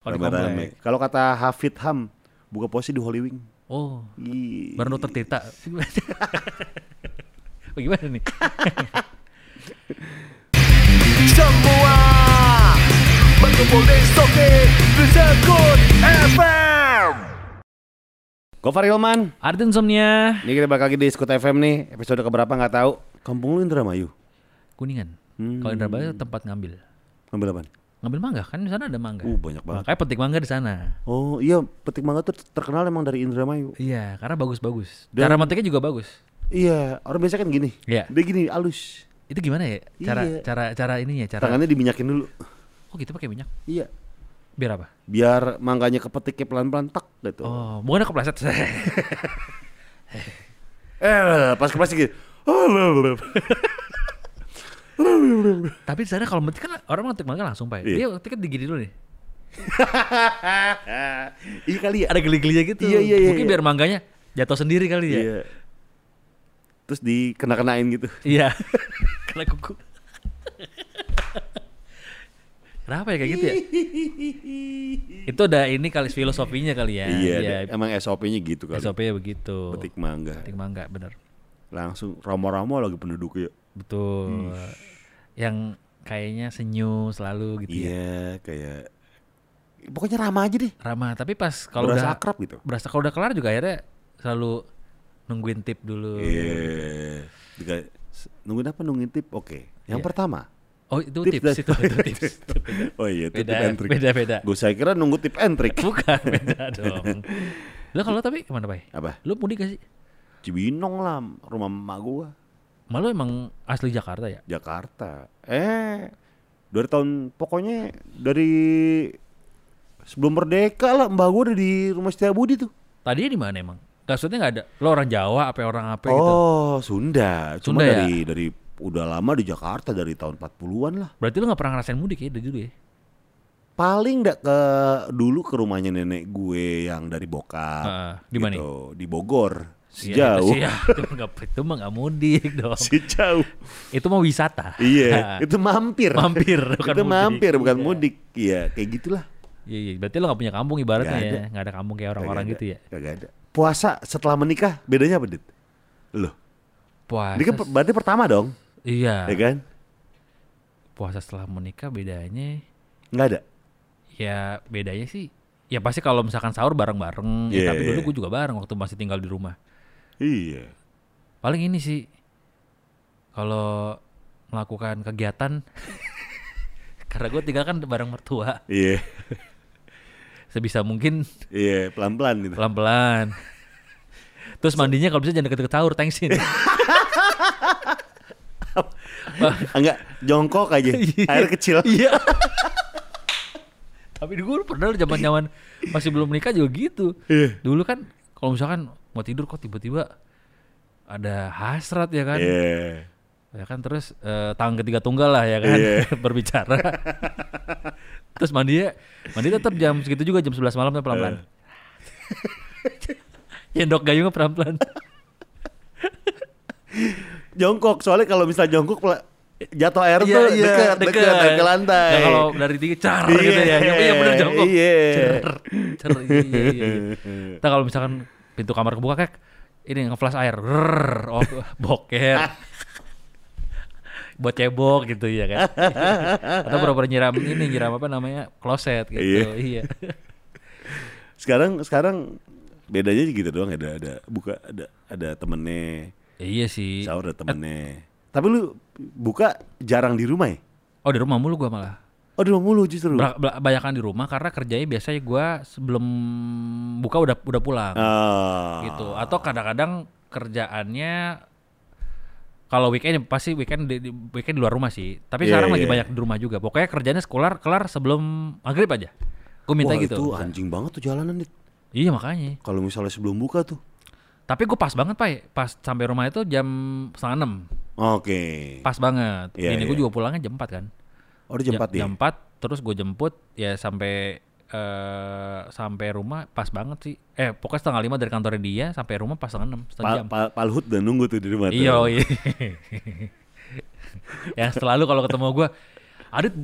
Oh, di Rame-rame. komplek. Kalau kata Hafid Ham, buka puasa di Holy Wing. Oh, Ih. baru dokter Tirta. oh, gimana nih? Semua berkumpul di Soki di Sekut FM. Gofar Hilman. Arden Somnia, Ini kita balik lagi di Skut FM nih. Episode keberapa nggak tahu. Kampung lu Indramayu. Kuningan. Hmm. Kalau Indramayu tempat ngambil. Ngambil apa? Ngambil mangga kan di sana ada mangga. Uh, banyak banget. Makanya petik mangga di sana. Oh iya, petik mangga tuh terkenal emang dari Indramayu. Iya, karena bagus-bagus. Dan- Cara metiknya juga bagus. Iya, orang biasa kan gini. Iya. Dia gini, halus. Itu gimana ya? Cara Iya. cara cara ininya, cara Tangannya diminyakin dulu. Oh, gitu pakai minyak. Iya. Biar apa? Biar mangganya kepetiknya pelan-pelan tak gitu. Oh, bukan kepleset. Eh, pas kepleset gitu. Tapi di sana kalau metik kan orang metik mangga langsung, Pak. Iya. Dia metiknya digini dulu nih. iya kali ya. Ada geli-gelinya gitu. Iya, iya, iya, Mungkin iya. biar mangganya jatuh sendiri kali ya. Iya. Terus dikena-kenain gitu. Iya. Kena kuku. Kenapa ya kayak gitu ya? Itu ada ini kali filosofinya kali ya. iya, deh. emang SOP-nya gitu kali. SOP-nya begitu. Petik mangga. Petik mangga, benar. Langsung romo-romo lagi penduduk ya. Betul. Yang kayaknya senyum selalu gitu ya. Iya, kayak pokoknya ramah aja deh. Ramah, tapi pas kalau Berasa udah akrab gitu. berasa kalau udah kelar juga akhirnya selalu nungguin tip dulu. Iya. Tiga- Nungguin apa? Nungguin tip. Oke. Yang Iya. pertama. Oh, itu Tips tips, dan- itu, itu tips. Oh iya, itu Beda, tip and trick. beda, beda. Gue saya kira nunggu tip and trick. Bukan beda dong. Lo kalau tapi kemana, Pak? Apa? Lo mudik gak sih? Cibinong lah, rumah emak gua, Malu emang asli Jakarta ya? Jakarta. Eh, dari tahun pokoknya dari sebelum merdeka lah mbak gua udah di rumah Setiabudi tuh. Tadinya di mana emang? Maksudnya nggak ada. Lo orang Jawa apa orang apa gitu? Oh, Sunda. Cuma Sunda ya? dari dari udah lama di Jakarta dari tahun 40-an lah. Berarti lo nggak pernah ngerasain mudik ya dari dulu ya? Paling enggak ke dulu ke rumahnya nenek gue yang dari Bokap. Heeh, di mana? gitu. Di Bogor. Iya, Itu, Sejauh. sih, ya. itu, nggak- itu mah nggak mudik dong. Sejauh. Itu mah wisata. Iya, itu mampir. Mampir, bukan itu mudik. mampir bukan Iya. mudik. Iya, kayak gitulah. Iya, iya. Berarti lo nggak punya kampung ibaratnya Nggak ya? Nggak ada kampung kayak orang-orang Kagak gitu ada, ya? Kagak ada. Puasa setelah menikah bedanya apa, Dit? Loh, Puasa. ini kan per- berarti pertama dong, Iya. ya kan? Puasa setelah menikah bedanya, Enggak ada. ya bedanya sih. Ya pasti kalau misalkan sahur bareng-bareng. Iya, ya, tapi iya. dulu gue juga bareng waktu masih tinggal di rumah. Iya. Paling ini sih kalau melakukan kegiatan karena gue tinggal kan bareng mertua Iya. sebisa mungkin Iya, pelan-pelan gitu. pelan-pelan. Terus mandinya kalau bisa jangan deket-deket sahur, thanksin. Enggak, jongkok aja. Air kecil. Iya. Tapi dulu pernah zaman zaman masih belum menikah juga gitu. Iya. Dulu kan kalau misalkan mau tidur kok tiba-tiba ada hasrat ya kan. Iya. Ya kan terus eh, tangan ketiga tunggal lah ya kan Iya. berbicara. terus mandi ya, mandi tetap jam segitu juga jam 11 malam tapi pelan-pelan. Jendok gayungnya pelan-pelan. Jongkok, soalnya kalau misalnya jongkok pela- jatuh air tuh dekat, dekat, naik ke lantai. Iya, Nah, kalau dari tinggi car gitu ya. Iya, iya bener jongkok. Iya. Cer, cer, iya, iya, iya. Nah, kalau misalkan pintu kamar kebuka kayak ini ngeflash air. Rrrr, oh, boker. buat cebok gitu ya kan. Atau pura-pura nyiram ini nyiram apa namanya? kloset gitu. Iya. Iya. Sekarang sekarang bedanya gitu doang ada ada buka ada ada temennya iya sih. sahur ada temennya Eh, tapi lu buka jarang di rumah ya Oh, di rumah mulu gua malah. oh di rumah mulu justru Bra- bla- Banyakan di rumah karena kerjanya biasanya gua sebelum buka udah udah pulang. Ah. gitu atau kadang-kadang kerjaannya kalau weekend ya pasti weekend di, di- weekend di luar rumah sih tapi Iya, sekarang lagi iya. banyak di rumah juga pokoknya kerjanya sekolah kelar sebelum maghrib aja gue minta Wah, gitu itu anjing banget tuh jalanan nih iya makanya kalau misalnya sebelum buka tuh tapi gue pas banget pak pas sampai rumah itu jam setengah enam oke pas banget Iya, ini gue iya. juga pulangnya jam 4 kan oh di jam 4 ya jam 4 terus gue jemput ya sampai eh sampai rumah pas banget sih eh pokoknya setengah lima dari kantornya dia sampai rumah pas setengah enam setengah Pa- jam pa- palhut dan nunggu tuh di rumah tuh. Iya, iya. yang selalu kalau ketemu gua, Adit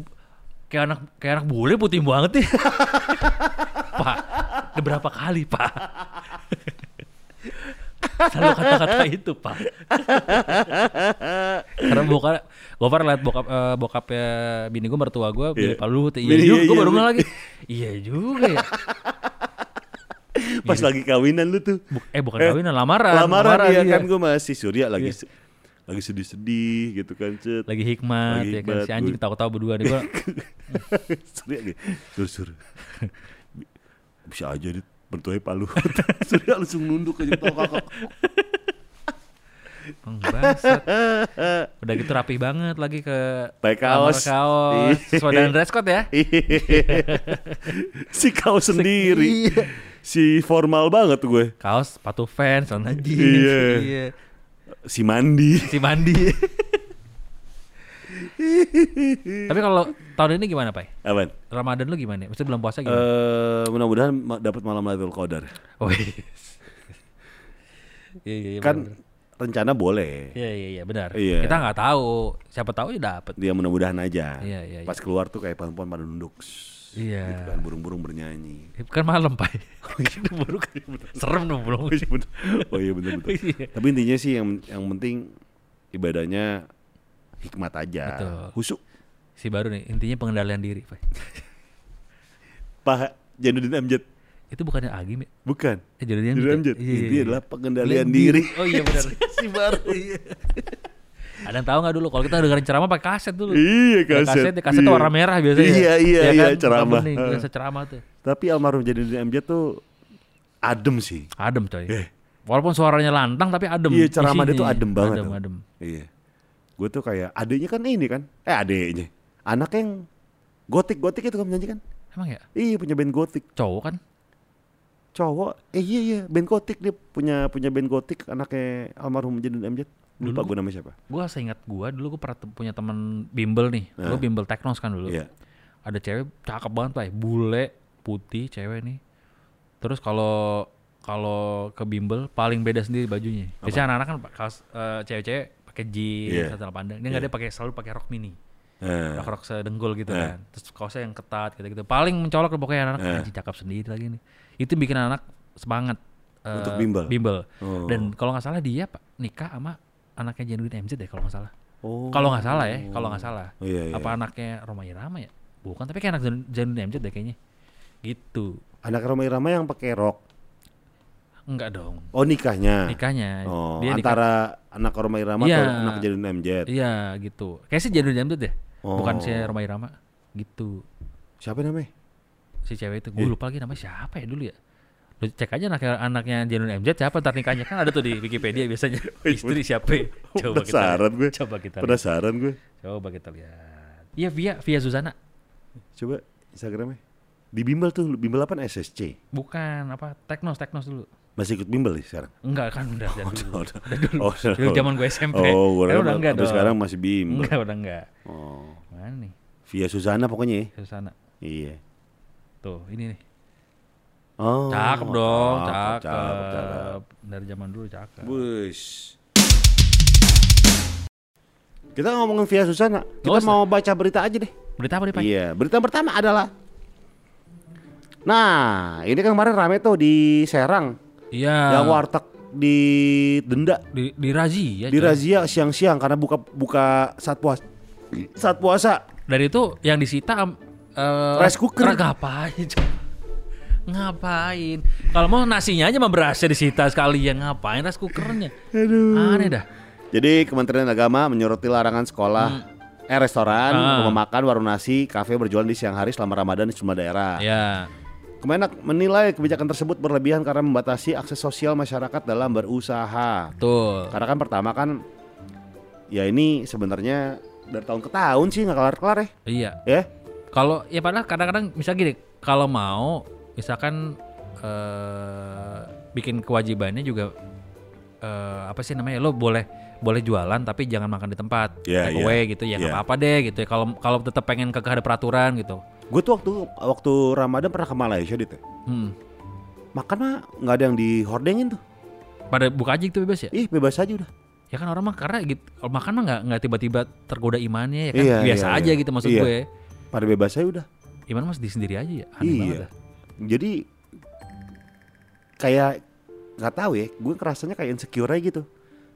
kayak anak kayak anak bule putih banget nih. pak, udah berapa kali pak? Selalu kata-kata itu pak. Karena bokap, gue pernah liat bokap, eh, bokapnya bini gue mertua gue, bini Iya. Pak Luhut. Iya Bini- juga, gue iya, iya, baru bini. ngeh lagi. Iya juga ya. Pas lagi kawinan lu tuh. Bu- eh bukan kawinan, lamaran. Lamaran, ya iya. kan gue masih Surya lagi se- lagi sedih-sedih gitu kan cet. Lagi hikmat, Lagi ya kan? hikmat, si anjing gua- tahu-tahu berdua nih gue. Surya nih, sur sur. Bisa aja dit mertuanya Pak Luhut. Surya langsung nunduk aja tau kakak. Oh, Bangsat. Udah gitu rapih banget lagi ke Pakai kaos. Iya. kamar kaos. Sesuai dengan dress code ya. si kau sendiri. iya. Si formal banget gue. Kaos, sepatu fans, celana jeans. Iya. Si mandi. Si mandi. Tapi kalau tahun ini gimana, Pak? Apaan? Ramadan lu gimana? Maksudnya bulan puasa Eh gimana? mudah-mudahan ma- dapat malam Lailatul Qadar. oh, yes. Iya, iya, iya. Eh. Kan benar. rencana boleh. Iya, iya, iya, benar. Iya. Kita nggak tahu. Siapa tahu ya dapet. Dia mudah-mudahan aja. Iya, iya, iya. Pas keluar tuh kayak perempuan pada nunduk. Iya. Gitu kan burung-burung bernyanyi. Kan malam, Pak. Buruk. Serem dong, belum. Oh iya bener. Oh iya bener betul. Iya. Tapi intinya sih yang yang penting ibadahnya hikmat aja. Betul. Husuk. Si baru nih, intinya pengendalian diri, Pak. Pak Januddin Amjad Itu bukannya Agim ya? bukan. Eh, Januddin Amjad. Januddin ya? Amjad. Iya, iya, Intinya iya. adalah pengendalian diri. Oh iya benar. si baru. Ada yang tahu nggak dulu kalau kita dengerin ceramah pakai kaset dulu. iya Ada kaset. Kaset, kaset tuh Iya. warna merah biasanya. Iya iya Ya iya kan? Warna ceramah. Bening, Heeh. kaset ceramah tuh. Tapi almarhum Januddin Amjad tuh adem sih. Adem coy. Eh. Walaupun suaranya lantang tapi adem. Iya ceramah dia Isinya. tuh adem banget. Adem tuh. adem. Iya. Gue tuh kayak adeknya kan ini kan. Eh adeknya. Anak yang gotik-gotik itu kan penyanyi kan. Emang ya? Iya punya band gotik. Cowok kan? cowok eh iya iya band gotik dia punya punya band gotik anaknya almarhum Jedun Amjad Dulu- lupa gue namanya siapa Gua seingat gua dulu gua pernah tem- punya temen bimbel nih. Nah. Gua bimbel Teknos kan dulu. iya Ada cewek cakep banget, Pak. ya. Bule, putih, cewek nih. Terus kalau kalau ke bimbel paling beda sendiri bajunya. Biasanya anak-anak kan pak- kaos, eh, cewek-cewek pakai jeans, Iya. sandal pandang. Dia nggak ada pakai selalu pakai rok mini. Eh, rok-rok sedenggul gitu kan Eh. terus kaosnya yang ketat gitu gitu paling mencolok tuh pokoknya anak Eh. anjing cakep sendiri lagi nih itu bikin anak semangat eh, Untuk bimbel? Oh. dan kalau nggak salah dia pak nikah sama anaknya Januin MZ deh kalau nggak salah oh kalau nggak salah ya kalau nggak salah Oh, iya, iya. apa anaknya Roma Irama ya bukan tapi kayak anak Januin MZ deh kayaknya gitu anak Roma Irama yang pakai rok enggak dong oh nikahnya nikahnya oh nikah- antara anak Roma Irama Iya. atau anak Jedun Amjad iya gitu kayak si Januin MZ deh bukan Oh. si Roma Irama gitu siapa namanya si cewek itu gue Iya. lupa lagi namanya siapa ya dulu ya lu cek aja anak anaknya Janun MZ siapa ntar nikahnya kan ada tuh di Wikipedia biasanya istri siapa ya? coba kita penasaran Iya, gue coba kita lihat. penasaran gue coba kita lihat iya Via Via Susana coba Instagramnya di bimbel tuh bimbel apa SSC bukan apa Teknos Teknos dulu masih ikut bimbel nih sekarang enggak kan udah udah dulu oh, udah. oh, udah. Dulu zaman gue SMP. oh gue Eh, udah enggak sampai dong. Hmm. sekarang masih bimbel enggak udah enggak oh mana nih via Susana pokoknya ya Susana iya tuh ini nih Oh, cakep dong cakep, cakep, cakep. dari zaman dulu cakep Bus. Kita ngomongin Via Susana. Kita Nggak usah. mau baca berita aja deh. berita apa nih Pak Iya, berita pertama adalah Nah, ini kan kemarin rame tuh di Serang iya yang warteg di denda, di, di razia coy. di razia siang-siang karena buka buka saat puasa. Saat puasa. Dan itu yang disita am- eh, Rice cooker. ra- ngapain? coy? ngapain? Kalau mau nasinya aja sama berasnya disita sekalian ngapain rice cookernya? Aneh dah. Jadi Kementerian Agama menyoroti larangan sekolah, eh restoran, Hmm. Ah. rumah makan, warung nasi, kafe berjualan di siang hari selama Ramadan di sejumlah daerah. Ya, Kemenak menilai kebijakan tersebut berlebihan karena membatasi akses sosial masyarakat dalam berusaha. betul. Karena kan pertama kan ya ini sebenarnya dari tahun ke tahun sih nggak kelar-kelar ya. Iya. Ya, Kalau ya padahal kadang-kadang misalnya gini, kalau mau misalkan eh bikin kewajibannya juga eh apa sih namanya? Lo boleh boleh jualan tapi jangan makan di tempat. Iya, take iya. away gitu ya. nggak Iya. apa-apa deh gitu ya. Kalau kalau tetap pengen kekeh ada peraturan gitu. gue tuh waktu waktu Ramadan pernah ke Malaysia gitu. Hmm. Makan mah nggak ada yang dihordengin tuh. Pada buka aja itu bebas ya? Ih bebas aja udah. ya kan orang mah karena gitu kalau makan mah nggak nggak tiba-tiba tergoda imannya ya kan Iya, biasa iya, aja iya. gitu maksud Iya. gue pada bebas saya udah Iya. Iman Mas di sendiri aja ya. Aneh banget dah. jadi kayak nggak tahu ya gue rasanya kayak insecure aja gitu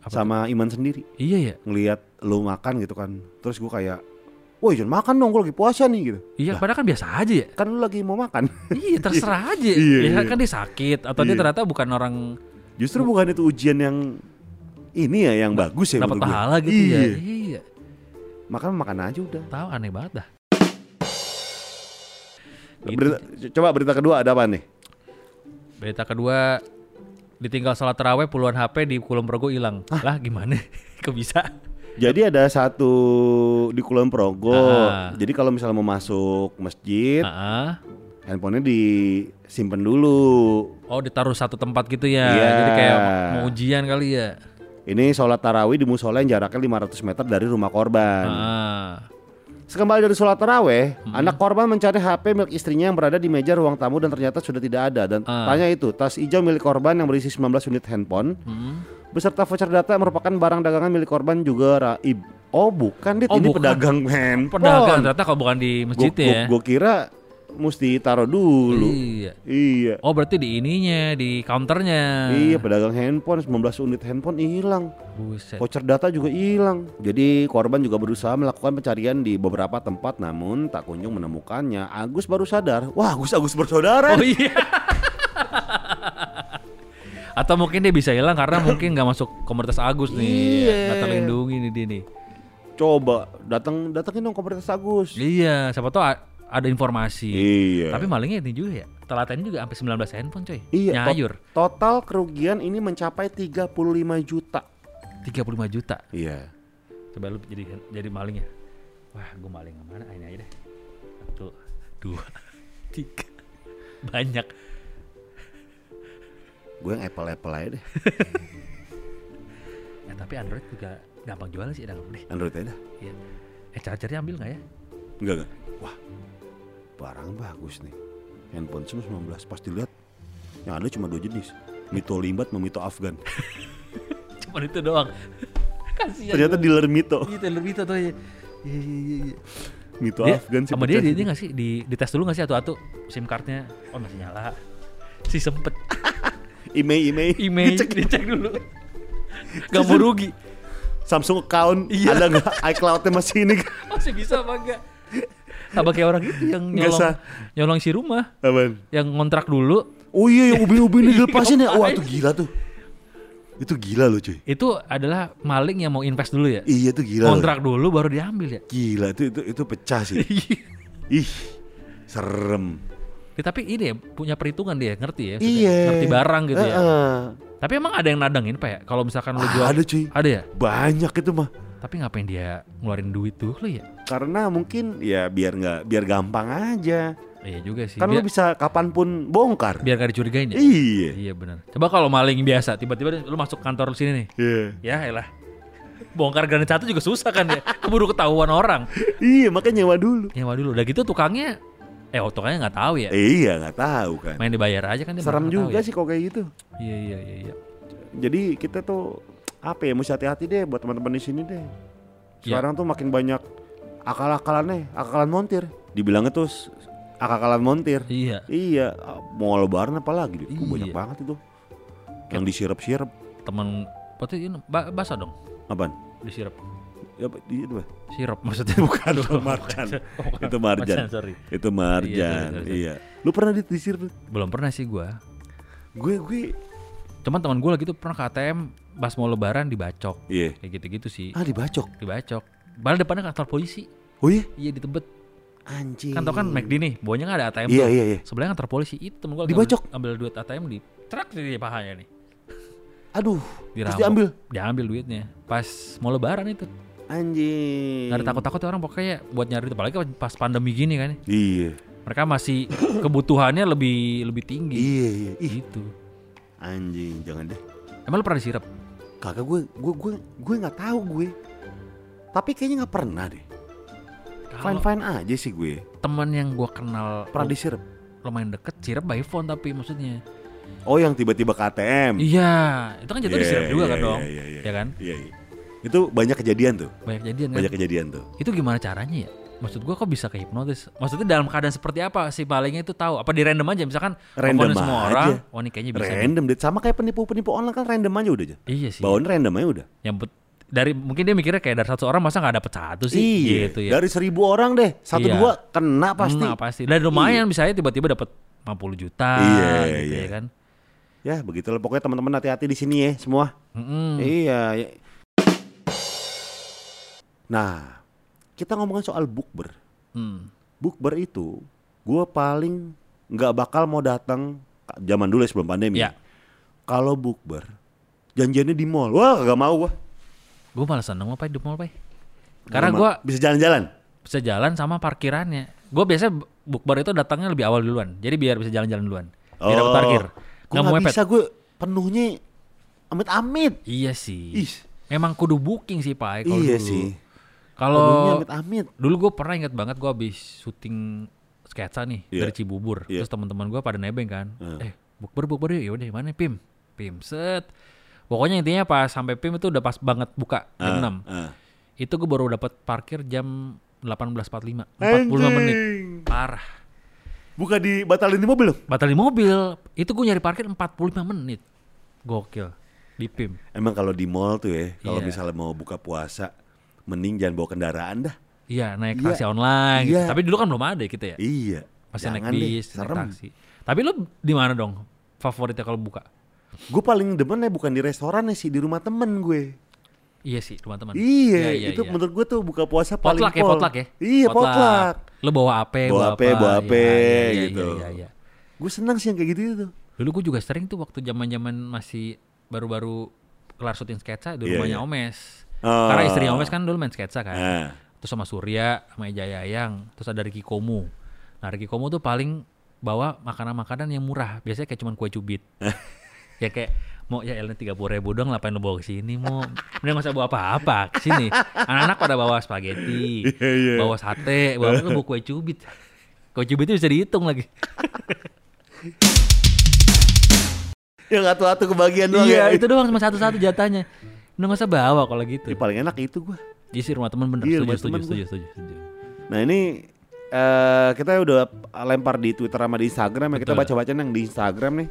Apa sama iman sendiri Iya ya. ngelihat lu makan gitu kan terus gue kayak woi jangan makan dong gue lagi puasa nih gitu Iya, padahal kan biasa aja ya. kan lu lagi mau makan Iya, terserah aja. Iya, ya iya. kan dia sakit atau dia Iya. ternyata bukan orang justru bukan itu ujian yang ini ya yang bagus ya dapat menurut gue. pahala gitu iya. ya. Iya. makan makan aja udah Tahu aneh banget dah. Gitu. Berita- coba berita kedua ada apa nih Berita kedua ditinggal sholat terawih puluhan HP di Kulon Progo hilang. Lah gimana? Kok bisa? Jadi ada satu di Kulon Progo. Ah. Jadi kalau misalnya mau masuk masjid, Heeh. handphonenya disimpan dulu. Oh ditaruh satu tempat gitu ya. Iya. Jadi kayak mau ujian kali ya. Ini sholat tarawih di musola yang jaraknya 500 meter dari rumah korban. Ah. Sekembali dari sholat tarawih, Hmm. anak korban mencari HP milik istrinya yang berada di meja ruang tamu dan ternyata sudah tidak ada. Dan Ah. tanya itu, tas hijau milik korban yang berisi 19 unit handphone Hmm. beserta voucher data yang merupakan barang dagangan milik korban juga raib. Oh bukan, Dit. Oh, ini bukan. pedagang handphone. Pedagang ternyata kalau bukan di masjid Gua- ya. gua- gua kira mesti taruh dulu. Iya. Iya. Oh berarti di ininya, di counternya. Iya, pedagang handphone 19 unit handphone hilang. Buset. Voucher data juga hilang. Jadi korban juga berusaha melakukan pencarian di beberapa tempat namun tak kunjung menemukannya. Agus baru sadar. Wah, Agus Agus bersaudara. Oh iya. Atau mungkin dia bisa hilang karena mungkin nggak masuk komunitas Agus nih, Iya. nggak terlindungi nih dia nih. Coba datang datangin dong komunitas Agus. Iya, siapa tahu a- ada informasi. Iya. Tapi malingnya ini juga ya, telaten juga sampai 19 handphone coy. iya, tot- Nyayur, total kerugian ini mencapai 35 juta. 35 juta. Iya. Coba lu jadi jadi malingnya. Wah, gue maling kemana? Ini aja deh. Satu, dua, tiga. Banyak. Gue yang Apple-Apple aja deh. Ya, tapi Android juga gampang jual sih, gampang deh. Android aja dah. Iya. Eh, chargernya ambil nggak ya? Enggak enggak. Wah. Barang bagus nih. Handphone SIM 19 pas dilihat yang ada cuma dua jenis. Mito Limbat sama Mito Afgan. Cuman itu doang. Kasihan. Ternyata dealer Mito. Gitu lebih itu tuh. Iya iya iya. iya. Mito Dia, Gitu, Afgan sih. sama dia pecah dia, sih. dia nggak sih di dites dulu nggak sih atu-atu SIM cardnya oh masih nyala si sempet Imei Imei. email Dicek. dicek, dulu gak mau rugi Samsung account Iya. ada nggak iCloud-nya masih ini? Oh, masih bisa apa enggak sama kayak orang itu yang Nggak nyolong sah. nyolong si rumah Apaan? yang ngontrak dulu Oh iya yang ubin-ubin ini dilepasin ya. Wah Ngapain? itu gila tuh. Itu gila loh cuy. itu adalah maling yang mau invest dulu ya Iya itu gila. loh. kontrak dulu baru diambil ya Gila itu itu itu pecah sih. Ih. Serem. Ya, tapi ini ya punya perhitungan dia ngerti ya maksudnya Iya. ngerti barang gitu ya Heeh. tapi emang ada yang nadangin pak ya kalau misalkan lu Ah, jual ada, cuy. ada ya Banyak itu mah. Tapi ngapain dia ngeluarin duit tuh lu ya? karena mungkin ya biar nggak biar gampang aja Iya juga sih. kan lu biar, bisa kapanpun bongkar biar gak dicurigain ya. Iya iya benar. Coba kalau maling biasa tiba-tiba dia- lu masuk kantor sini nih. iya Ya elah. Bongkar granit satu juga susah kan ya. Keburu ketahuan orang. iya makanya nyewa dulu Nyewa dulu. Udah gitu tukangnya eh oh, tukangnya nggak tahu ya. iya nggak tahu kan Main dibayar aja kan dia. serem nggak tahu juga ya. sih kok kayak gitu Iya iya iya iya. jadi kita tuh apa ya mesti hati-hati deh buat teman-teman di sini deh Iya. sekarang tuh makin banyak akal-akalannya akal-akalan montir dibilangnya tuh s- akal-akalan montir Iya. iya mau lebaran apalagi Iya. itu banyak banget itu yang disirep-sirep Temen berarti ini ba- basah dong apaan disirup. Ya, apa- itu apa? Sirup maksudnya Bukan, dong, Marjan. bukan. Itu Marjan. sorry. itu Iya, marjan iya, iya, lu pernah di- disirep Belum pernah sih gua. gue gue Cuman teman gue lagi tuh pernah ke ATM pas mau lebaran dibacok. Iya. Kayak gitu-gitu sih. Ah dibacok. Dibacok. Malah depannya kantor polisi. Oh iya, Iya di Tebet. anjing. Kantor kan McD nih. Bawahnya kan ada ATM Iya tuh. iya iya. Sebelahnya kantor polisi. Itu temen gue Dibacok? Ambil, duit ATM di truk di pahanya nih. Aduh. Terus Dirampok. diambil. Diambil duitnya. Pas mau lebaran itu. Anjing. Gak ada takut-takut orang pokoknya buat nyari duit. Apalagi pas pandemi gini kan. Iya. Mereka masih kebutuhannya lebih lebih tinggi. Iya iya. Ih, Gitu. anjing, jangan deh. Emang lu pernah disirap? Kakak gue gue gue gue nggak tahu gue. Tapi kayaknya nggak pernah deh. Fine Kalau fine aja sih gue. temen yang gua kenal Pernah disirep. lumayan deket sirap by phone tapi maksudnya Oh yang tiba-tiba KTM. Iya, itu kan jatuh Hmm. Iya, diserap juga iya, kan iya, dong. Iya iya. Ya kan? Iya iya. Itu banyak kejadian tuh. Banyak jadian kan. Banyak kejadian tuh. Itu gimana caranya ya? maksud gua kok bisa ke hipnotis maksudnya dalam keadaan seperti apa si palingnya itu tahu apa di random aja misalkan Random teleponin semua aja. orang oh ini kayaknya bisa nih. Random deh, sama kayak penipu-penipu online kan random aja udah aja. iya sih Bawaan random aja udah. yang bet- dari mungkin dia mikirnya kayak dari satu orang masa nggak dapet satu sih iya, gitu ya dari seribu orang deh, satu Iya. dua kena pasti. Nah, pasti dan lumayan misalnya tiba-tiba dapat 50 juta Iya, gitu ya iya. kan Ya begitulah pokoknya teman-teman hati-hati di sini ya semua. Mm-mm. Iya. ya. Nah, kita ngomongin soal bukber. Mm. Bukber itu, gue paling nggak bakal mau datang zaman dulu ya sebelum pandemi. Ya. Kalau bukber, janjiannya di mall. Wah, gak mau gue. Gue malah seneng loh Pai, di mall Pai. Karena gue bisa jalan-jalan. bisa jalan sama parkirannya. Gue biasanya bu- bukber itu datangnya lebih awal duluan. Jadi biar bisa jalan-jalan duluan. Biar dapat parkir. Gue Nggak mau mepet. Oh. bisa gue penuhnya amit-amit. Iya sih. Ih. Memang kudu booking sih Pak kalau dulu. Iya Oh. sih. Penuhnya Kalau amit-amit. dulu gue pernah inget banget gue habis syuting sketsa nih Iya. dari Cibubur. Iya. Terus teman-teman gue pada nebeng kan. Eh, bukber bukber yuk. Yaudah mana Pim? Pim set. Pokoknya intinya pas sampai Pim itu udah pas banget buka jam Ah, 6. ah. Itu gue baru dapat parkir jam 18.45. 45 menit. Anjing. Parah. Buka di batalin di mobil. loh. Batal di mobil. Itu gue nyari parkir 45 menit. Gokil. Di PIM. Emang kalau di mall tuh ya, kalau Iya. misalnya mau buka puasa, mending jangan bawa kendaraan dah. Iya, naik Iya. taksi online gitu. Iya. Tapi dulu kan belum ada ya kita ya. Iya. Masih naik Jangan deh, bis, naik serem. taksi. Tapi lu di mana dong favoritnya kalau buka? Gue paling demen ya bukan di restoran ya sih, di rumah temen gue. Iya sih, rumah teman. Iya, itu menurut gue tuh buka puasa paling potluck ya, pol. potluck ya. Iya, potlak. Lu bawa ape, Bawa ape, Iya, bawa ape, iya, iya, gitu. Iya, iya, iya. Gue senang sih yang kayak gitu tuh. Dulu gue juga sering tuh waktu zaman-zaman masih baru-baru kelar syuting sketsa di Iya, rumahnya iya. Omes. Oh. Karena istri Omes kan dulu main sketsa kan. Ah. terus sama Surya, sama Eja Yayang, terus ada Ricky Komu. Nah Ricky Komu tuh paling bawa makanan-makanan yang murah, biasanya kayak cuman kue cubit. ya kayak mau ya Ellen tiga puluh ribu dong, ngapain lo bawa ke sini mau? Mending nggak usah bawa apa-apa ke sini. Anak-anak pada bawa spaghetti, Iya, iya. bawa sate, bawa lo bawa kue cubit. Kue cubit itu bisa dihitung lagi. Yang atu-atu kebagian doang iya ya. itu doang cuma satu-satu jatahnya. Udah nggak usah bawa kalau gitu. Ini paling enak itu gue. Jadi sih rumah temen bener, Iya, setuju, rumah setuju, temen setuju, setuju, setuju. Nah ini eh kita udah lempar di Twitter sama di Instagram ya kita Betul. baca-baca yang di Instagram nih.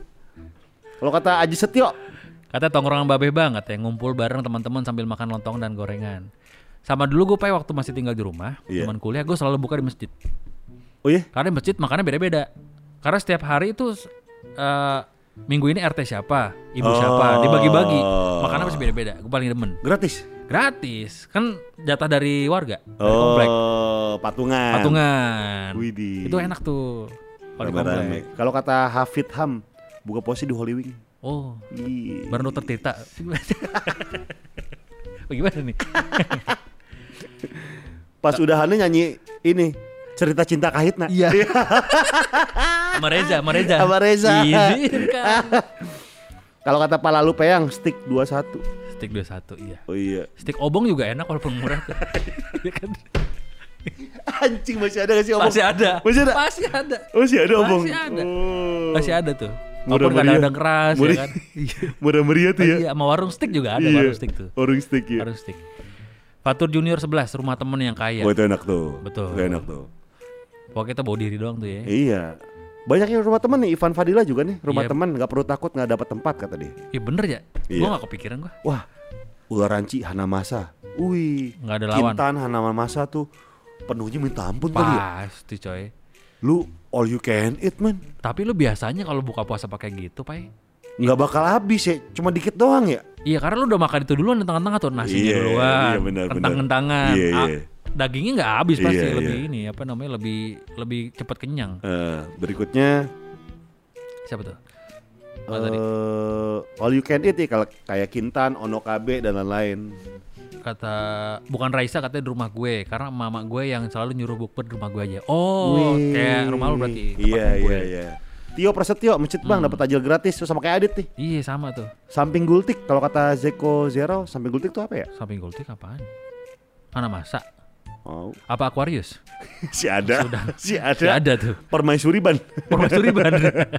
Kalau kata Aji Setio, Kata tongkrongan babe banget ya ngumpul bareng teman-teman sambil makan lontong dan gorengan. Sama dulu gue pay waktu masih tinggal di rumah, Iya. teman kuliah gue selalu buka di masjid. oh iya, Karena di masjid makannya beda-beda. Karena setiap hari itu eh, minggu ini RT siapa, ibu Oh. siapa, dibagi-bagi. Makannya pasti beda-beda. Gue paling demen. gratis. Gratis, kan jatah dari warga, dari Oh, komplek, patungan. patungan. Widih. Itu enak tuh. Kalau di Kata- komplek. Kalau kata Hafid Ham, buka puasa di Holy Wing. Oh, Ih. baru nutup cerita. Bagaimana nih? Pas udahannya nyanyi ini cerita cinta kahitna. Iya. Sama Reza, sama Reza. Iya. Sama Reza. Iya. Izinkan. Kalau kata Palalu Peyang, stick 21. Stick 21, iya. Oh iya. Stick obong juga enak walaupun murah. Iya kan? Anjing masih ada gak sih obong? Masih ada. Masih ada. Masih ada. Masih ada obong. Masih ada. Oh. Masih ada tuh. Murah Walaupun meriah. kadang-kadang keras Murah- ya Iya. kan. Murah meriah tuh ya. Iya, sama warung stick juga ada warung stick tuh. Warung stick ya. Warung stick. Fatur Junior 11, rumah temen yang kaya. Oh itu enak tuh. Betul. Itu enak tuh. Pokoknya kita bawa diri doang tuh ya. Iya. Banyak yang rumah teman nih. Ivan Fadila juga nih rumah Iya. teman nggak perlu takut nggak dapat tempat kata dia. Iya bener ya. Iya. Gua gak kepikiran gua. Wah, ular ranci Hanamasa. Wih, Nggak ada lawan. Kintan Hanamasa tuh penuhnya minta ampun kali ya. Pasti coy. Lu all you can eat man. Tapi lu biasanya kalau buka puasa pakai gitu, Pai? Nggak bakal habis ya, cuma dikit doang ya. Iya karena lu udah makan itu duluan di tengah-tengah tuh nasinya Iya, duluan, iya, benar, kentang-kentangan, benar. Iya, Ah, iya. dagingnya nggak habis pasti Iya, lebih iya. ini apa namanya lebih lebih cepat kenyang. Eh, berikutnya Siapa tuh? Apa tadi? eh all you can eat ya kalau kayak Kintan, Onokabe dan lain-lain. Kata bukan Raisa katanya di rumah gue karena mama gue yang selalu nyuruh bukber di rumah gue aja. Oh, Wih. kayak rumah lu berarti tempat ya? Hmm. Iya, gue. iya, iya. Tio Prasetyo, mencet bang, dapat tajil gratis Terus sama kayak Adit nih. Iya sama tuh. Samping gultik, kalau kata Zeko Zero, samping gultik tuh apa ya? Samping gultik apaan? Mana masa? Oh, Apa Aquarius? si ada, si ada, Ya ada tuh. Permaisuri ban. Permaisuri bener.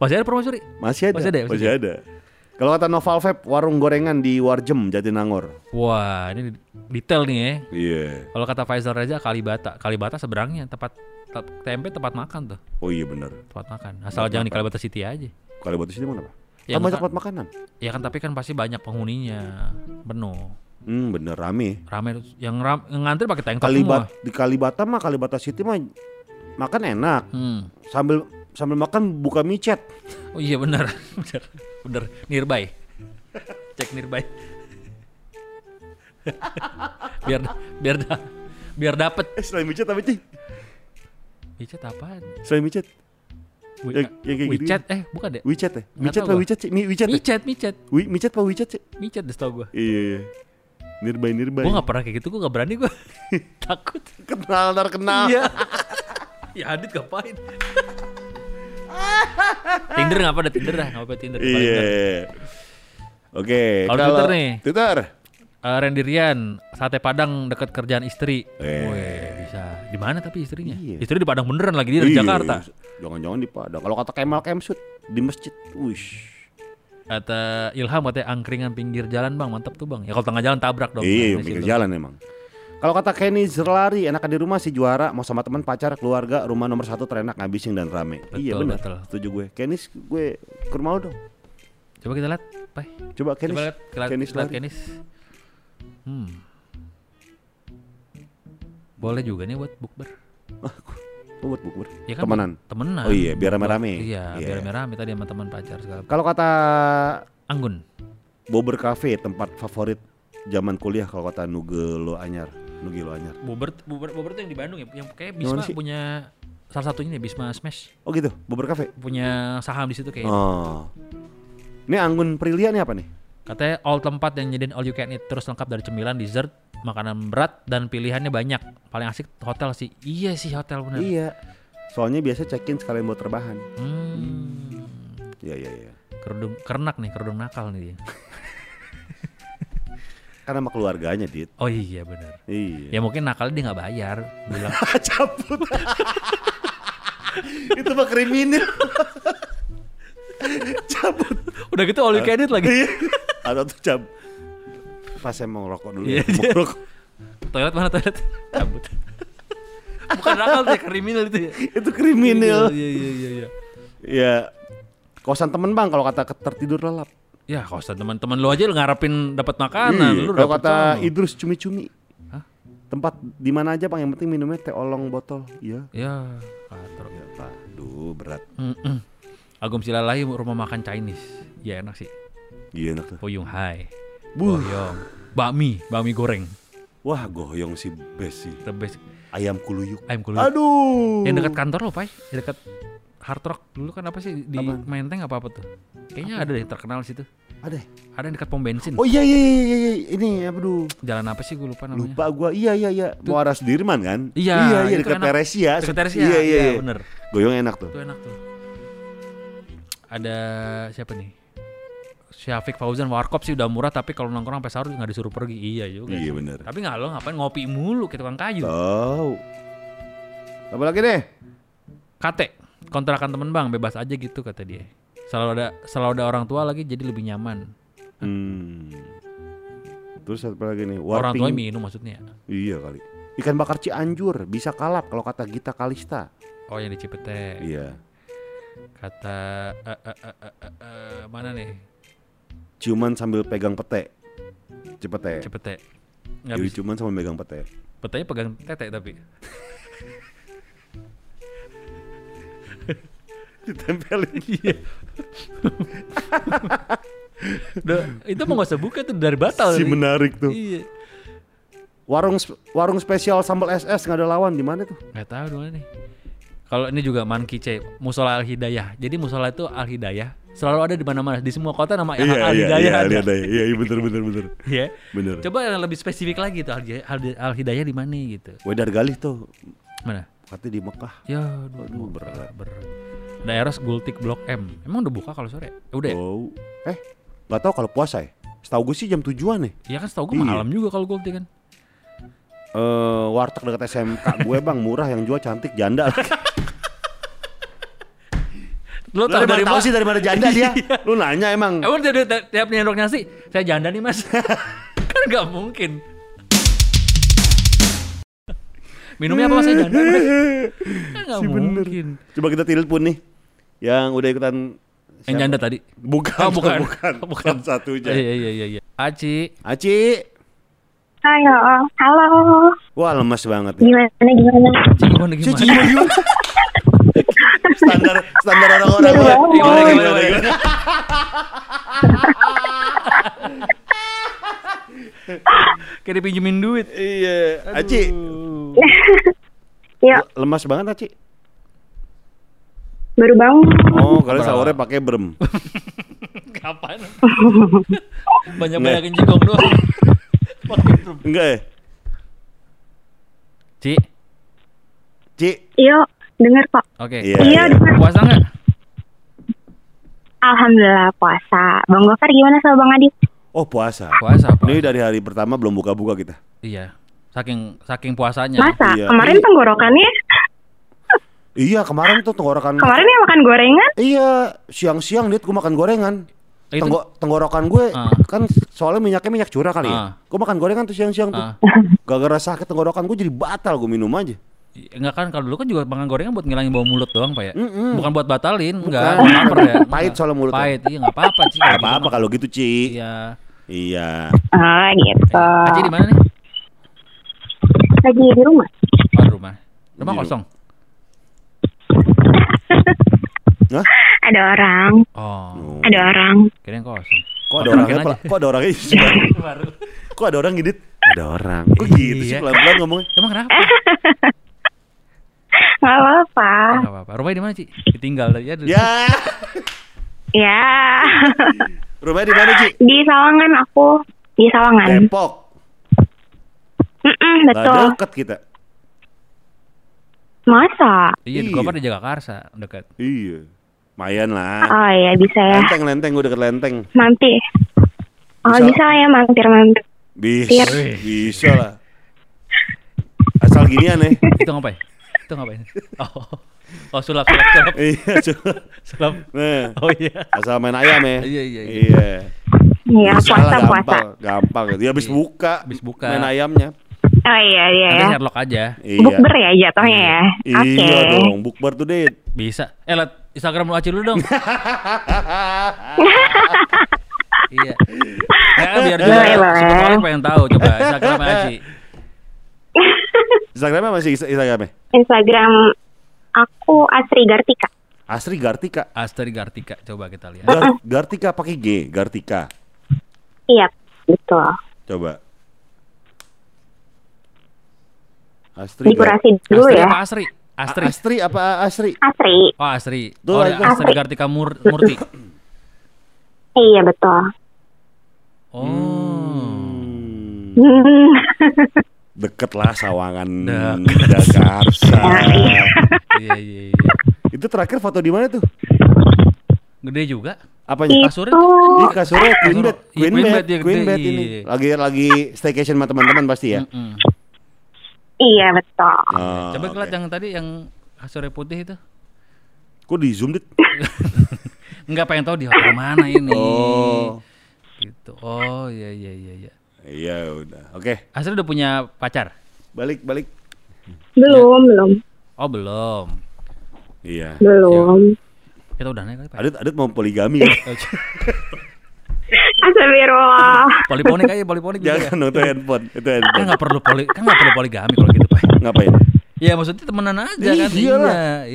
Masih ada permaisuri? Masih ada. Masih ada ya? Masih Masih ada. Kalau kata Noval Vape, warung gorengan di Warjem Jatinangor. Wah, ini detail nih ya. Iya. Kalau kata Faisal Reza Kalibata, Kalibata seberangnya tempat te- tempe tempat makan tuh, Oh iya bener. tempat makan. Asal jangan di Kalibata City aja. Kalau batu sini mana pak? Ya, Kan banyak maka- tempat makanan. Ya kan tapi kan pasti banyak penghuninya. Penuh. Hmm bener rame. Rame yang, ram, yang ngantri pakai tank top Kalibat semua. di Kalibata mah Kalibata City mah makan enak Hmm. sambil sambil makan buka micet. Oh iya benar. benar. Benar. Nearby. Cek nearby. biar biar da, biar dapet Eh selain micet apa sih? WeChat apaan? Selain micet, We- Ya, ya kayak gitu. WeChat eh bukan deh. WeChat ya? Nggak Micet tahu apa gua. WeChat sih? Mi- WeChat ya? micet micet Wi, micet apa WeChat sih? micet deh tau gue Iya, iya. Nirbai, nirbai. gue gak pernah kayak gitu gue gak berani gue takut Kenal, ntar kenal. iya ya Adit ngapain Tinder ngapa ada Tinder dah ngapa Tinder paling Iya. bener. Oke, Kalau Twitter nih. Twitter. Eh, Randy Rian sate Padang dekat kerjaan istri Eh. Weh, bisa di mana tapi istrinya Iya. istri di Padang beneran lagi dia di Iya, Jakarta Jangan-jangan di Padang. Kalau kata Kemal Kemsut di masjid. Wish. kata Ilham katanya angkringan pinggir jalan bang mantap tuh bang ya kalau tengah jalan tabrak dong Iya, Nah, di mikir situ. jalan emang. Kalau kata Kenny Zerlari, enakan di rumah si juara, mau sama teman, pacar, keluarga, rumah nomor satu terenak, ngabisin dan rame. Betul, iya benar, betul. setuju gue. Kenny, gue ke rumah lu dong. coba kita lihat Pai. Coba Kenny, coba lihat lihat- Kenny lihat Zerlari. Kenis. hmm boleh juga nih buat bukber Ah, gue- gue buat bukber. Ya kan, Temenan. temenan Oh iya, biar rame-rame. iya Iya. biar rame-rame tadi sama teman pacar segala Kalau kata anggun Bober Cafe, tempat favorit zaman kuliah kalau kata Nuge Lo Anyar. Nuge Lo Anyar. Bobert Bobert Bobert yang di Bandung ya yang kayak Yang mana Bisma sih? punya salah satunya nih Bisma Smash Oh gitu, Bober Cafe. punya saham di situ kayaknya Oh. Ini Anggun Prilia nih apa nih? katanya all tempat yang nyediain all you can eat terus lengkap dari cemilan dessert makanan berat dan pilihannya banyak paling asik hotel sih iya sih hotel bener Iya. Soalnya biasa check-in sekalian buat rebahan. hmm. Iya, iya, iya. kerudung kernak nih kerudung nakal nih dia Karena sama keluarganya, Dit. oh iya bener Iya. ya mungkin nakal dia nggak bayar bilang Cabut. Itu mah kriminal. cabut. udah gitu all you can eat lagi Iya. Atau tuh cab. Pas saya mau rokok dulu. Iya. ya. Mau rokok. toilet mana toilet cabut bukan nakal tuh ya, kriminal itu ya Itu kriminal. iya iya iya iya Iya. Kosan temen bang kalau kata ke- tertidur lelap. ya kosan teman-teman lu aja lu ngarepin dapat makanan Iya, lu kalau dapet kata sono. Idrus cumi-cumi. Hah? Tempat di mana aja bang yang penting minumnya teh olong botol. Iya. ya katro Ya, Aduh berat. Mm-mm. Agum Silalahi rumah makan Chinese ya enak sih Iya enak tuh. Puyung Hai Buh. Goyong Bakmi Bakmi goreng Wah goyong sih best sih. The best Ayam kuluyuk. Ayam kulit Aduh. Yang dekat kan? kantor lo Pai Yang dekat Hard Rock dulu kan apa sih Di Apaan? Menteng apa-apa tuh Kayaknya ada deh terkenal situ Ada. ya? Ada yang dekat pom bensin Oh iya iya iya iya, iya ini aduh Jalan apa sih gue lupa namanya lupa gua iya iya iya mau arah Sudirman kan? Iya, iya iya itu dekat enak. Teresia. Dekat Teresia, Iya iya, iya, iya. bener. Goyong enak tuh. Itu enak tuh. Ada siapa nih? Syafiq Fauzan warkop sih udah murah tapi kalau nongkrong sampai sahur nggak disuruh pergi. Iya juga. Iya sih. bener. Tapi nggak lo ngapain ngopi mulu ke tukang kayu. Tahu. Apa lagi deh? Kate, kontrakan temen bang bebas aja gitu kata dia. Selalu ada selalu ada orang tua lagi jadi lebih nyaman. Hmm. Terus apa lagi nih? Orang Warping. tua minum maksudnya. Iya kali. Ikan bakar Cianjur bisa kalap kalau kata Gita Kalista. Oh yang di Cipete. Iya. Kata eh, eh, eh, eh, eh, eh, mana nih? Ciuman sambil pegang pete. ya? Cepete. Cipete. Nggak Jadi bisa. ciuman sambil pegang pete. Petanya pegang tete tapi. Ditempelin. Iya. Udah, itu mau gak usah buka tuh dari batal. si menarik tuh. Iya. Warung sp- warung spesial sambal SS nggak ada lawan di mana tuh? Gak tahu di mana nih. Kalau ini juga Manki C, Musola Al Hidayah. Jadi Musola itu Al Hidayah selalu ada di mana-mana di semua kota nama Al Hidayah ada. iya, iya, iya, bener, bener, bener, Iya. bener. Coba yang lebih spesifik lagi tuh Al, Al- Al Hidayah di mana gitu. Wedar Galih tuh, Mana? katanya di Mekah. Ya, Aduh, aduh, berat. berat. Daerah Gultik Blok M. Emang udah buka kalau sore? Eh, Udah ya? Oh, eh, nggak tahu kalau puasa ya. Setahu gue sih jam tujuan nih. Iya kan setahu gue Iya. malam juga kalau Gultik kan. Eh, warteg dekat SMK gue bang murah yang jual cantik janda. lagi. Lu Lu tahu dari dari mana mana? Iya. tahu Eh, sih dari mana janda dia? Lu nanya emang. Emang tiap, tiap, tiap nyendok nasi, saya janda nih mas. kan nggak mungkin. Minumnya apa mas? Saya janda mas. Kan nggak Si bener. mungkin. Coba kita telepon nih yang udah ikutan Yang siapa? janda tadi. Bukan, Oh, bukan. bukan, Oh, bukan. bukan satunya. Iya iya iya iya. Aci, Aci, Halo, halo. wah lemas banget. ya. Gimana gimana? Aci gimana Ci, gimana? ci, gimana, gimana? standar standar orang-orang Gimana, ya. gimana, Gimana, gimana, gimana, gimana? Kayak dipinjemin duit. Iya, Aci, Ya, lemas banget Aci. baru bangun. Oh, kalian sahurnya pakai brem. Kapan? Banyak Nah. banyakin jigong doang. Pakai drum. Enggak ya? Ci, Ci. Iya, dengar kok. oke. Iya. Iya, dengar. Puasa nggak? Alhamdulillah puasa. Bang Gofar gimana sama Bang Adit? Oh, puasa. Puasa apa? Ini dari hari pertama belum buka-buka kita. Iya. Saking saking puasanya. Masa? Iya. Kemarin tenggorokannya? Iya, kemarin tuh tenggorokan Kemarin yang makan gorengan? Iya, siang-siang lihat gue makan gorengan. Ah, Itu- Tenggo- tenggorokan gue Ah. kan soalnya minyaknya minyak curah kali Ah. ya. Gue makan gorengan tuh siang-siang tuh. Ah. Gara-gara sakit tenggorokan gue jadi batal gue minum aja. Enggak kan kalau dulu kan juga makan gorengan buat ngilangin bau mulut doang, Pak ya. Mm-mm. Bukan buat batalin, enggak, Bukan. lapar ya. Pahit soalnya mulutnya. Pahit, iya enggak apa-apa sih. Gak apa-apa kalau gitu, Ci. Iya. Iya. Oh, gitu. Aci di mana nih? Lagi di rumah. Oh, di rumah. Rumah Di kosong. Hah? Ada orang. Oh, Ada orang. kirain kosong. Kok ada orangnya? Masukin Pel- Kok ada orangnya? Baru. Kok ada orang gidit? Ada orang. Kok gitu sih Iya. pelan-pelan ngomongnya? Emang kenapa? Gak apa-apa. Enggak apa-apa. Rumahnya di mana, Ci? Ditinggal tadi ya. Ya. Ya. Rumahnya di mana, Ci? di Sawangan aku. Di Sawangan. Depok. Mm-mm, Gak betul. deket kita. Masa? Iya, di Iya. Kopar di Jagakarsa, dekat. Iya. Mayan lah. Oh iya, bisa ya. Lenteng-lenteng gue deket lenteng. Mampir. Oh, Bisa. bisa, ya mampir-mampir. Bisa. Wih. Iya. Bisa lah. Asal ginian ya. Itu ngapain? Itu ngapain? Oh. Oh, sulap sulap sulap. Iya, cu- sulap. Nah, Oh iya. asal main ayam ya. Iya, iya, iya. Iya. Iya, Bisa lah, Gampang, puasa-puasa. gampang. Ya habis Iya. buka. Habis buka. Main ayamnya. Oh iya, iya Nanti ya. Sherlock aja. Iya. Bukber ya jatuhnya ya. Oke. Iya dong, bukber tuh, Dit. Bisa. Eh, liat Instagram lu Aci dulu dong. iya. Eh, biar juga Boleh, boleh. semua orang pengen tahu coba Instagram Aci. Instagramnya masih Insta- Instagramnya? Instagram aku Asri Gartika. Asri Gartika. Astri Gartika coba kita lihat. Gar- Gartika pakai G, Gartika. Iya, betul. Coba. Astri. Gar- Dikurasi dulu Astri ya. apa Astri? Astri. A- Astri apa A- Asri? Asri. Oh, Astri. Tuh, Oh, Astri. Astri Gartika Mur- Murti. Iya, betul. Oh. Hmm. Deket lah Sawangan Dek. Jakarta. Iya, iya, iya. Itu terakhir foto di mana tuh? Gede juga. Apanya? Kasurnya itu Ini kasurnya ya, Queen Kasur- Bed, iya, Queen Queen Bed, Bed ya, Queen gede, Bed ini. iya. Lagi lagi staycation sama teman-teman pasti ya. Mm-mm. iya betul. Oh, Hmm. Coba lihat oke. yang tadi yang kasurnya putih itu. Kok di zoom dit? Enggak pengen tahu di hotel mana ini. Oh. Gitu. Oh, iya iya iya iya. Iya udah. Oke, Astri udah punya pacar? balik balik. Belum, belum, Oh, belum. Iya. belum. Kita udah naik kali, Pak. Adit Adit mau poligami. ya? Astagfirullah. poliponik aja, poliponik gitu ya. Jangan dong, itu handphone, itu Kan handphone. nggak perlu poli, kan nggak perlu poligami kalau gitu, Pak. Ngapain? Ya maksudnya temenan aja kan. lah. Iya.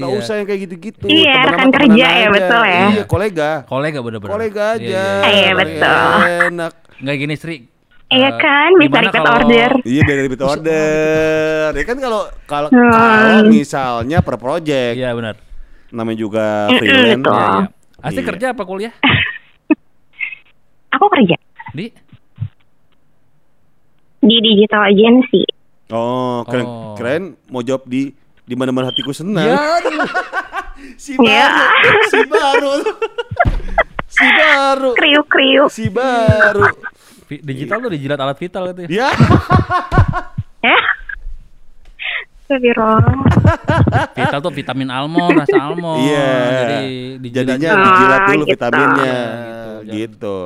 Nggak usah yang kayak gitu-gitu. Iya, Temenan rekan sama temenan kerja ya, aja. betul ya. Iya, kolega. Kolega bener-bener. Kolega Iya, aja. Iya, iya, Kolega betul. Enak. Nggak gini, Sri. Iya Eh, kan, bisa gimana request kalau- order. Iya, dari repeat order. Ya kan kalau kalau Hmm. kalau misalnya per project Iya, benar. namanya juga Mm-mm, freelance. betul. Iya, Oh. iya. Asti Iya. kerja apa kuliah? Aku kerja Di? di digital agency. Oh, keren Oh. Iya. keren mau jawab di di mana-mana hatiku senang. si baru, Iya. si baru. si baru. Kriuk kriuk. Si baru. Iya. Vi- Digital tuh dijilat alat vital gitu ya. Ya. Ya. Astagfirullah. Vital tuh vitamin almond, rasa almond. Iya. Oh, Jadi dijilat Jadinya dulu. Ah, dijilat dulu gitu. vitaminnya Iya, gitu, gitu.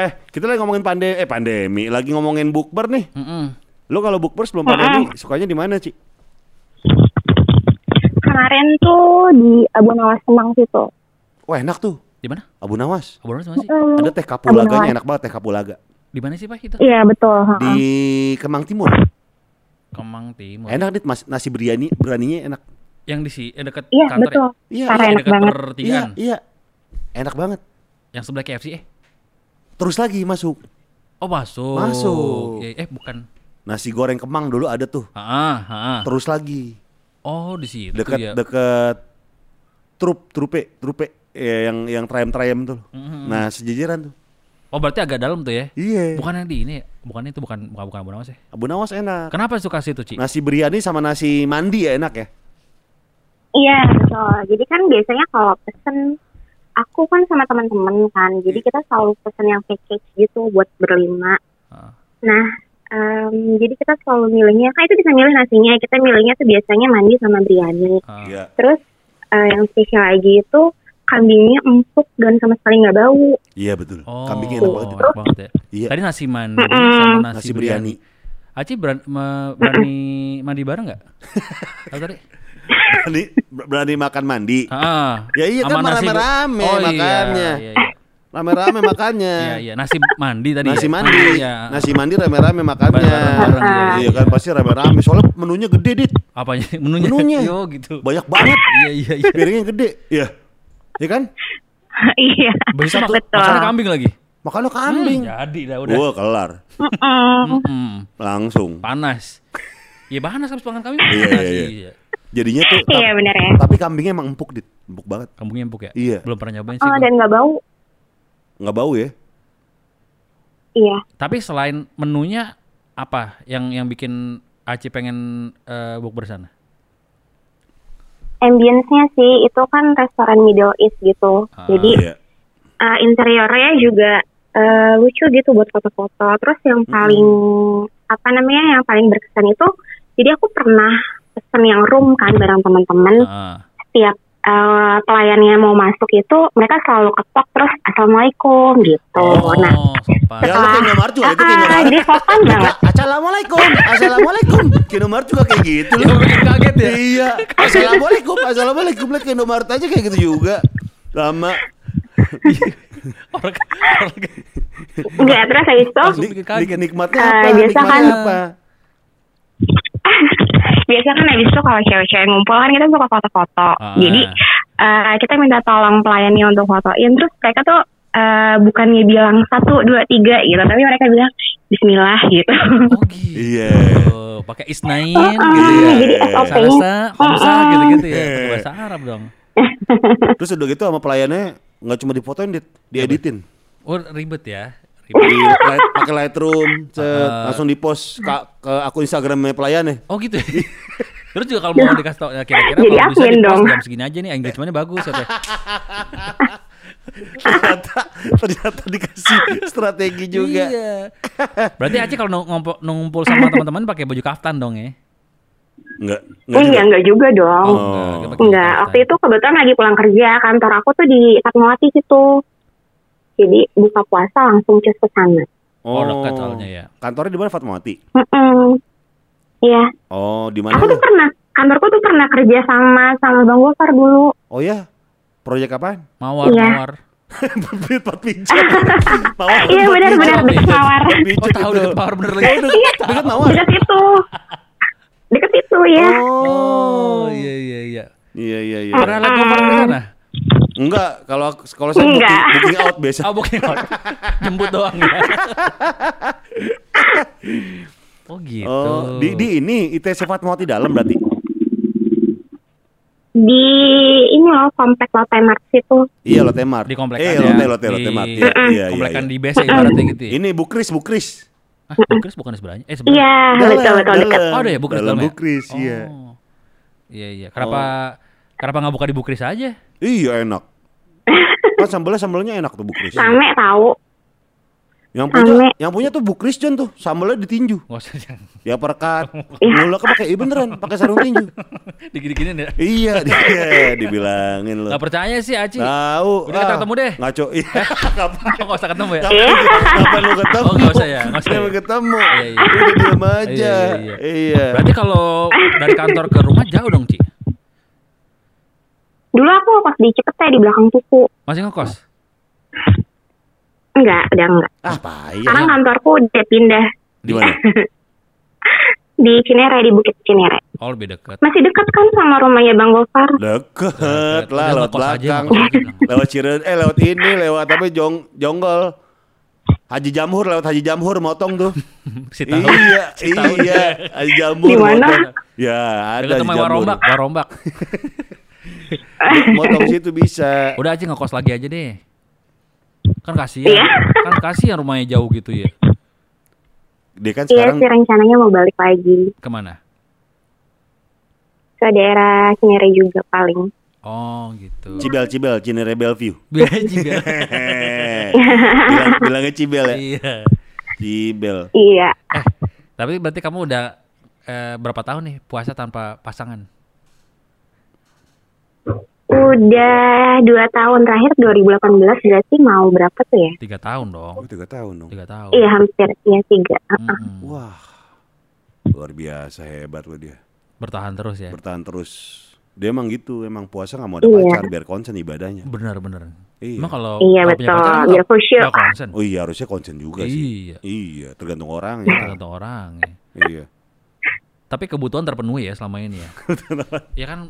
eh, kita lagi ngomongin pandemi eh pandemi, lagi ngomongin bukber nih. Mm-mm. Lu kalau bukber sebelum pandemi sukanya di mana, Ci? Kemarin tuh di Abu Nawas Kemang situ. Wah, enak tuh. Di mana? Abu Nawas. Abu Nawas mana sih? Hmm, Ada teh Abu Nawas. kapulaganya enak banget teh kapulaga. Di mana sih Pak itu? Iya betul. ha. Di Kemang Timur. Kemang Timur. Enak dit mas- nasi biryani, beraninya enak. Yang di si eh, dekat Iya kantor. betul. ya? Iya, Parah iya, Yang enak dekat banget. pertigaan. Iya, iya. Enak banget. Yang sebelah KFC eh. Terus lagi masuk Oh, masuk. Masuk. Iya, eh bukan. nasi goreng Kemang dulu ada tuh. Heeh, heeh. Terus lagi Oh, di situ dekat ya. dekat trup trupe trupe ya, yang yang trayem trayem tuh. Mm-hmm. Nah sejajaran tuh. Oh, berarti agak dalam tuh ya. Iya. Bukan yang di ini, ya? bukan itu bukan bukan bukan Abu Nawas ya. Abu Nawas enak. Kenapa suka situ, Ci? Nasi biryani sama nasi mandi ya enak ya. Iya betul. Jadi kan biasanya kalau pesen aku kan sama teman-teman kan, jadi Iya. kita selalu pesen yang package gitu buat berlima. Ah. Nah, em, jadi kita selalu milihnya, kan itu bisa milih nasinya, kita milihnya tuh biasanya mandi sama biryani. Ah. Iya. Terus eh, yang spesial lagi itu kambingnya empuk dan sama sekali nggak bau. Iya betul. Oh, Kambingnya enak banget. enak banget ya. Iya. Tadi nasi mandi sama nasi, Nasi biryani. biryani. Aci beran, me- berani mandi bareng nggak? Tahu tadi? Berani, berani makan mandi. Ah, Ya iya, sama kan nasi- rame-rame iya, makannya. Iya, iya. Rame-rame makannya. Iya, iya, nasi mandi tadi. Nasi ya? mandi, Ah, Iya. nasi mandi rame-rame makannya. Bareng-bareng, iya. Iya kan pasti rame-rame. Soalnya menunya gede dit, Apanya? Menunya. Menunya. Yo gitu. banyak banget. Iya, iya, iya. Piringnya gede, iya. Iya kan? Iya. Bisa mak- Betul. makannya kambing lagi. Makannya kambing. Jadi dah Hmm, ya, udah. Wah kelar, Mm-mm. Mm-mm. langsung. Panas. Ya panas habis makan kambing. Iya, panas, iya, iya. Jadinya tuh. ta- Iya bener ya. Tapi kambingnya emang empuk dit, empuk banget. Kambingnya empuk ya? Iya. Belum pernah nyobain sih. Oh, gua. dan nggak bau. Nggak bau ya? Iya. Tapi selain menunya apa yang yang bikin Aci pengen eh, bukber sana? Ambience-nya sih itu kan restoran Middle East gitu. Ah. Jadi Iya. eh, interiornya juga eh, lucu gitu buat foto-foto. Terus yang paling apa namanya yang paling berkesan itu, jadi aku pernah pesen yang room kan bareng teman-teman. Ah. Setiap eh, pelayannya mau masuk itu mereka selalu ketok terus assalamualaikum gitu. Oh, Nah, sopan. Ya lu kayak Kino Marjuwa, itu Kino ah, jadi Marjuwa. sopan banget. Assalamualaikum, assalamualaikum. Kino Mart juga kayak gitu Lu loh. bikin kaget ya? Iya. Assalamualaikum, assalamualaikum. Lihat Kino Mart aja kayak gitu juga. Lama. Orang- orang- Enggak, terus habis itu Langsung Nik- bikin kaget. nik- nikmatnya Eh, apa? biasa nikmatnya kan- apa? biasa kan habis itu kalau cewek-cewek ngumpul kan kita suka foto-foto. Ah. Jadi eh, kita minta tolong pelayannya untuk fotoin. Terus mereka tuh eh, bukannya bilang satu, dua, tiga gitu, tapi mereka bilang Bismillah gitu. Oh gitu. Iya. Pakai isnain gitu Ah, ya. Jadi SOP-nya Sarasa, Hamsa gitu-gitu Iya. ya. Pakai bahasa Arab dong. Terus udah gitu sama pelayannya nggak cuma dipotoin, dit, dieditin. Oh ribet ya. Ribet. Di light, pakai Lightroom, cet, Ah. langsung dipost ke, ke akun Instagramnya pelayannya. Oh gitu. ya? Terus juga kalau mau dikasih tau ya kira-kira Jadi kalau bisa admin di-post dong. jam segini aja nih engagementnya bagus apa ya. ternyata ternyata dikasih strategi juga. Iya. Berarti Aci kalau nung- ngumpul, ngumpul sama teman-teman pakai baju kaftan dong ya? Enggak, enggak iya, juga. enggak juga dong. Oh. dia pakai Enggak, kaftan. waktu itu kebetulan lagi pulang kerja, kantor aku tuh di Fatmawati situ. Jadi buka puasa langsung cus ke sana. Oh, dekat soalnya ya. Kantornya di mana Fatmawati? Mm-mm. Iya, Oh, di mana? aku lu? tuh pernah kantorku tuh pernah kerja sama sama Bang Gofar dulu. Oh ya. Proyek apaan? Mawar, Iya. mawar. Tempat pijat. Mawar. Iya benar benar Tapi- deket mawar. Oh tahu gitu. deket mawar bener lagi. Eh, Dekat mawar. Iya. Deket itu. Deket itu ya. Oh iya iya iya. Iya iya iya. Pernah lihat mawar di sana? Enggak, kalau aku- kalau saya booking, Enggak. booking out biasa. Oh bukan mawar. Jemput doang ya. Oh gitu. Oh, di di ini ITC Fatmawati dalam berarti. Di ini loh komplek Lotte Mart situ. Iya Lotte Mart. di komplekan eh, ya. Lotte Lotte Di Lotte Mart. Iya, iya, komplekan iya, di base ya, ibaratnya gitu iya. ya. Ini Bukris Bukris. Ah, Bukris bukan di sebelahnya. Eh sebelahnya. Iya Dalam, betul betul deket. dalam. Oh, ada ya Bukris Dalam dalamnya? Bukris, Oh. iya. Oh. Iya iya. Kenapa kenapa nggak buka di Bukris aja? Iya enak. Kan sambelnya sambelnya enak tuh Bukris. Rame tahu. Yang punya, Ame. yang punya tuh Bu Christian tuh, sambalnya ditinju. Ya, Nggak usah jangan. Dia perkat, nguleknya pakai iya beneran, pakai sarung tinju. Digini-giniin ya. Iya, dia dibilangin loh. Gak percaya sih Aci. Tahu. Udah kita ah, ketemu deh. Eh. Ngaco. Iya. Ngapain? Nggak usah ketemu ya. Ngapain Iya. ngapain lu ketemu? Oh, nggak usah ya, nggak usah Ngapain ya. ketemu? Iya, iya. Udah diam aja. Iya, iya, Iya. Berarti kalau dari kantor ke rumah jauh dong Ci. Dulu aku pas di Cipete di belakang tuku. Masih ngekos. Enggak, udah enggak. Ah, ya? payah. Karena kantorku udah pindah Di mana? Iya. di Cinere di Bukit Cinere. Oh lebih dekat. Masih dekat kan sama rumahnya Bang Gofar? Deket Udah, lah, lewat ngekos aja, belakang. ngekos aja, bilang. lewat Ciren, eh lewat ini, lewat apa jong jonggol. Haji Jamhur lewat Haji Jamhur motong tuh. Si tahu. iya, iya, Haji Jamhur. Di mana? motong. Ya, ada Dekat Haji sama Jamhur. Warombak, Warombak. Motong situ bisa. Udah Aci ngekos lagi aja deh. Kan kasihan. Iya. Kan kasihan rumahnya jauh gitu ya. Dia kan Iya sekarang sih rencananya mau balik lagi Kemana? ke daerah Cinere juga paling. Oh gitu. Cibel Cibel Cinere Bellevue. Biar aja biar. Bilang, bilangnya Cibel ya. Iya. Cibel. Iya, Eh, tapi berarti kamu udah eh, berapa tahun nih puasa tanpa pasangan? udah dua tahun terakhir 2018 berarti mau berapa tuh ya? Tiga tahun dong. Oh, Hmm. tiga tahun dong. Tiga tahun. Iya hampir ya tiga. Mm-mm. Wah. Luar biasa hebat lo dia. Bertahan terus ya. Bertahan terus. Dia emang gitu, emang puasa nggak mau ada Iya. pacar biar konsen ibadahnya. Bener bener. Iya. Emang kalau Iya, nggak punya betul. pacar, Biar nggak- khusyuk. nggak konsen. Oh iya harusnya konsen juga sih. Iya. Iya, tergantung orang ya. Tergantung orang. Ya. iya. Tapi kebutuhan terpenuhi ya selama ini ya. ya kan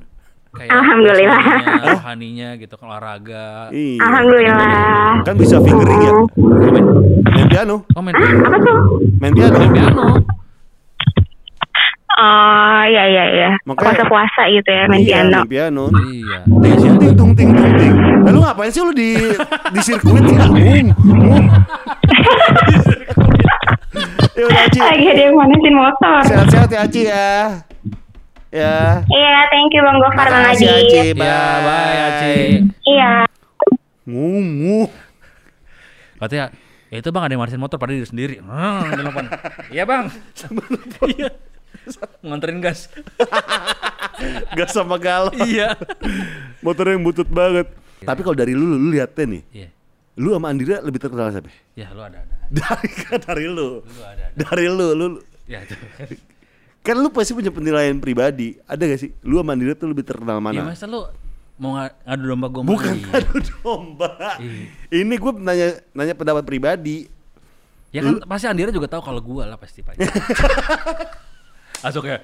kayak Alhamdulillah. Oh. jasmaninya, rohaninya gitu kan olahraga. Iya. Alhamdulillah. Kan bisa fingering ya. Main piano, Oh main Ah, apa tuh? main piano. main piano. Oh iya iya iya. Makanya- Puasa-puasa gitu ya main Iya, piano. main piano. Iya. Ting ting ting tung ting tung ting. Lalu ngapain sih lu di di sirkuit sih? Bung. Ya udah Aci, Lagi ada yang manasin motor. sehat-sehat ya Aci ya. Ya. Iya, thank you Bang Gofar, Bang Makasih, Adi. Aci. Bye. Ya, bye Aci. Iya. Ngumu. Katanya ya itu bang ada yang marisin motor pada diri sendiri. Hmm, dia nelfon. Iya bang. Iya. Nganterin gas. Gak sama galau. Iya. Motornya yang butut banget. Tapi kalau dari lu, lu liatnya nih. Iya. Lu sama Andira lebih terkenal siapa? Ya lu ada ada. Dari dari lu. Dari lu, lu Ya itu. kan lu pasti punya penilaian pribadi. Ada gak sih? Lu sama Andira tuh lebih terkenal Ya mana? masa lu mau nga- ngadu domba gue Bukan ngadu domba. Ini gue nanya nanya pendapat pribadi. Ya kan pasti Andira juga tahu kalau gua lah pasti pasti. Langsung kayak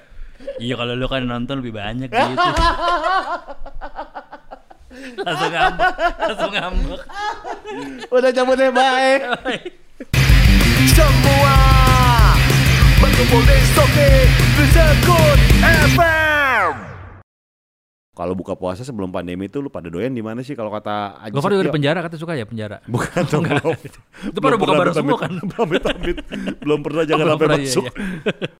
Iya kalau lu kan nonton lebih banyak gitu. langsung ngambek, langsung ngambek. Udah cabut deh, bye. Semua Berkumpul di Soke The Sekut FM Kalau buka puasa sebelum pandemi itu lu pada doyan di mana sih kalau kata Aji? Gofar juga kan di Setio? penjara kata suka ya penjara. Bukan dong. Enggak. Itu baru buka bareng semua kan? Pamit pamit. Belum pernah jangan belum sampai pernah, iya, masuk. iya.